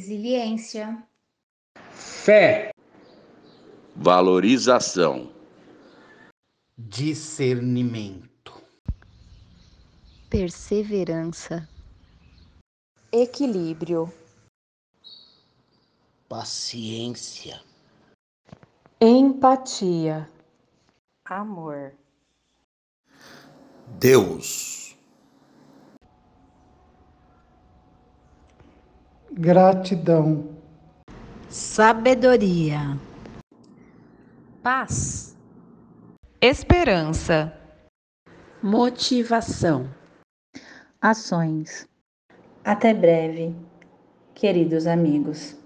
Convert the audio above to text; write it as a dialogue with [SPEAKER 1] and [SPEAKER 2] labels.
[SPEAKER 1] resiliência,
[SPEAKER 2] fé,
[SPEAKER 3] valorização,
[SPEAKER 4] discernimento,
[SPEAKER 5] perseverança,
[SPEAKER 6] equilíbrio,
[SPEAKER 4] paciência,
[SPEAKER 6] empatia,
[SPEAKER 7] amor,
[SPEAKER 4] Deus,
[SPEAKER 2] gratidão,
[SPEAKER 8] sabedoria,
[SPEAKER 7] paz,
[SPEAKER 6] esperança,
[SPEAKER 8] motivação,
[SPEAKER 9] ações.
[SPEAKER 10] Até breve, queridos amigos.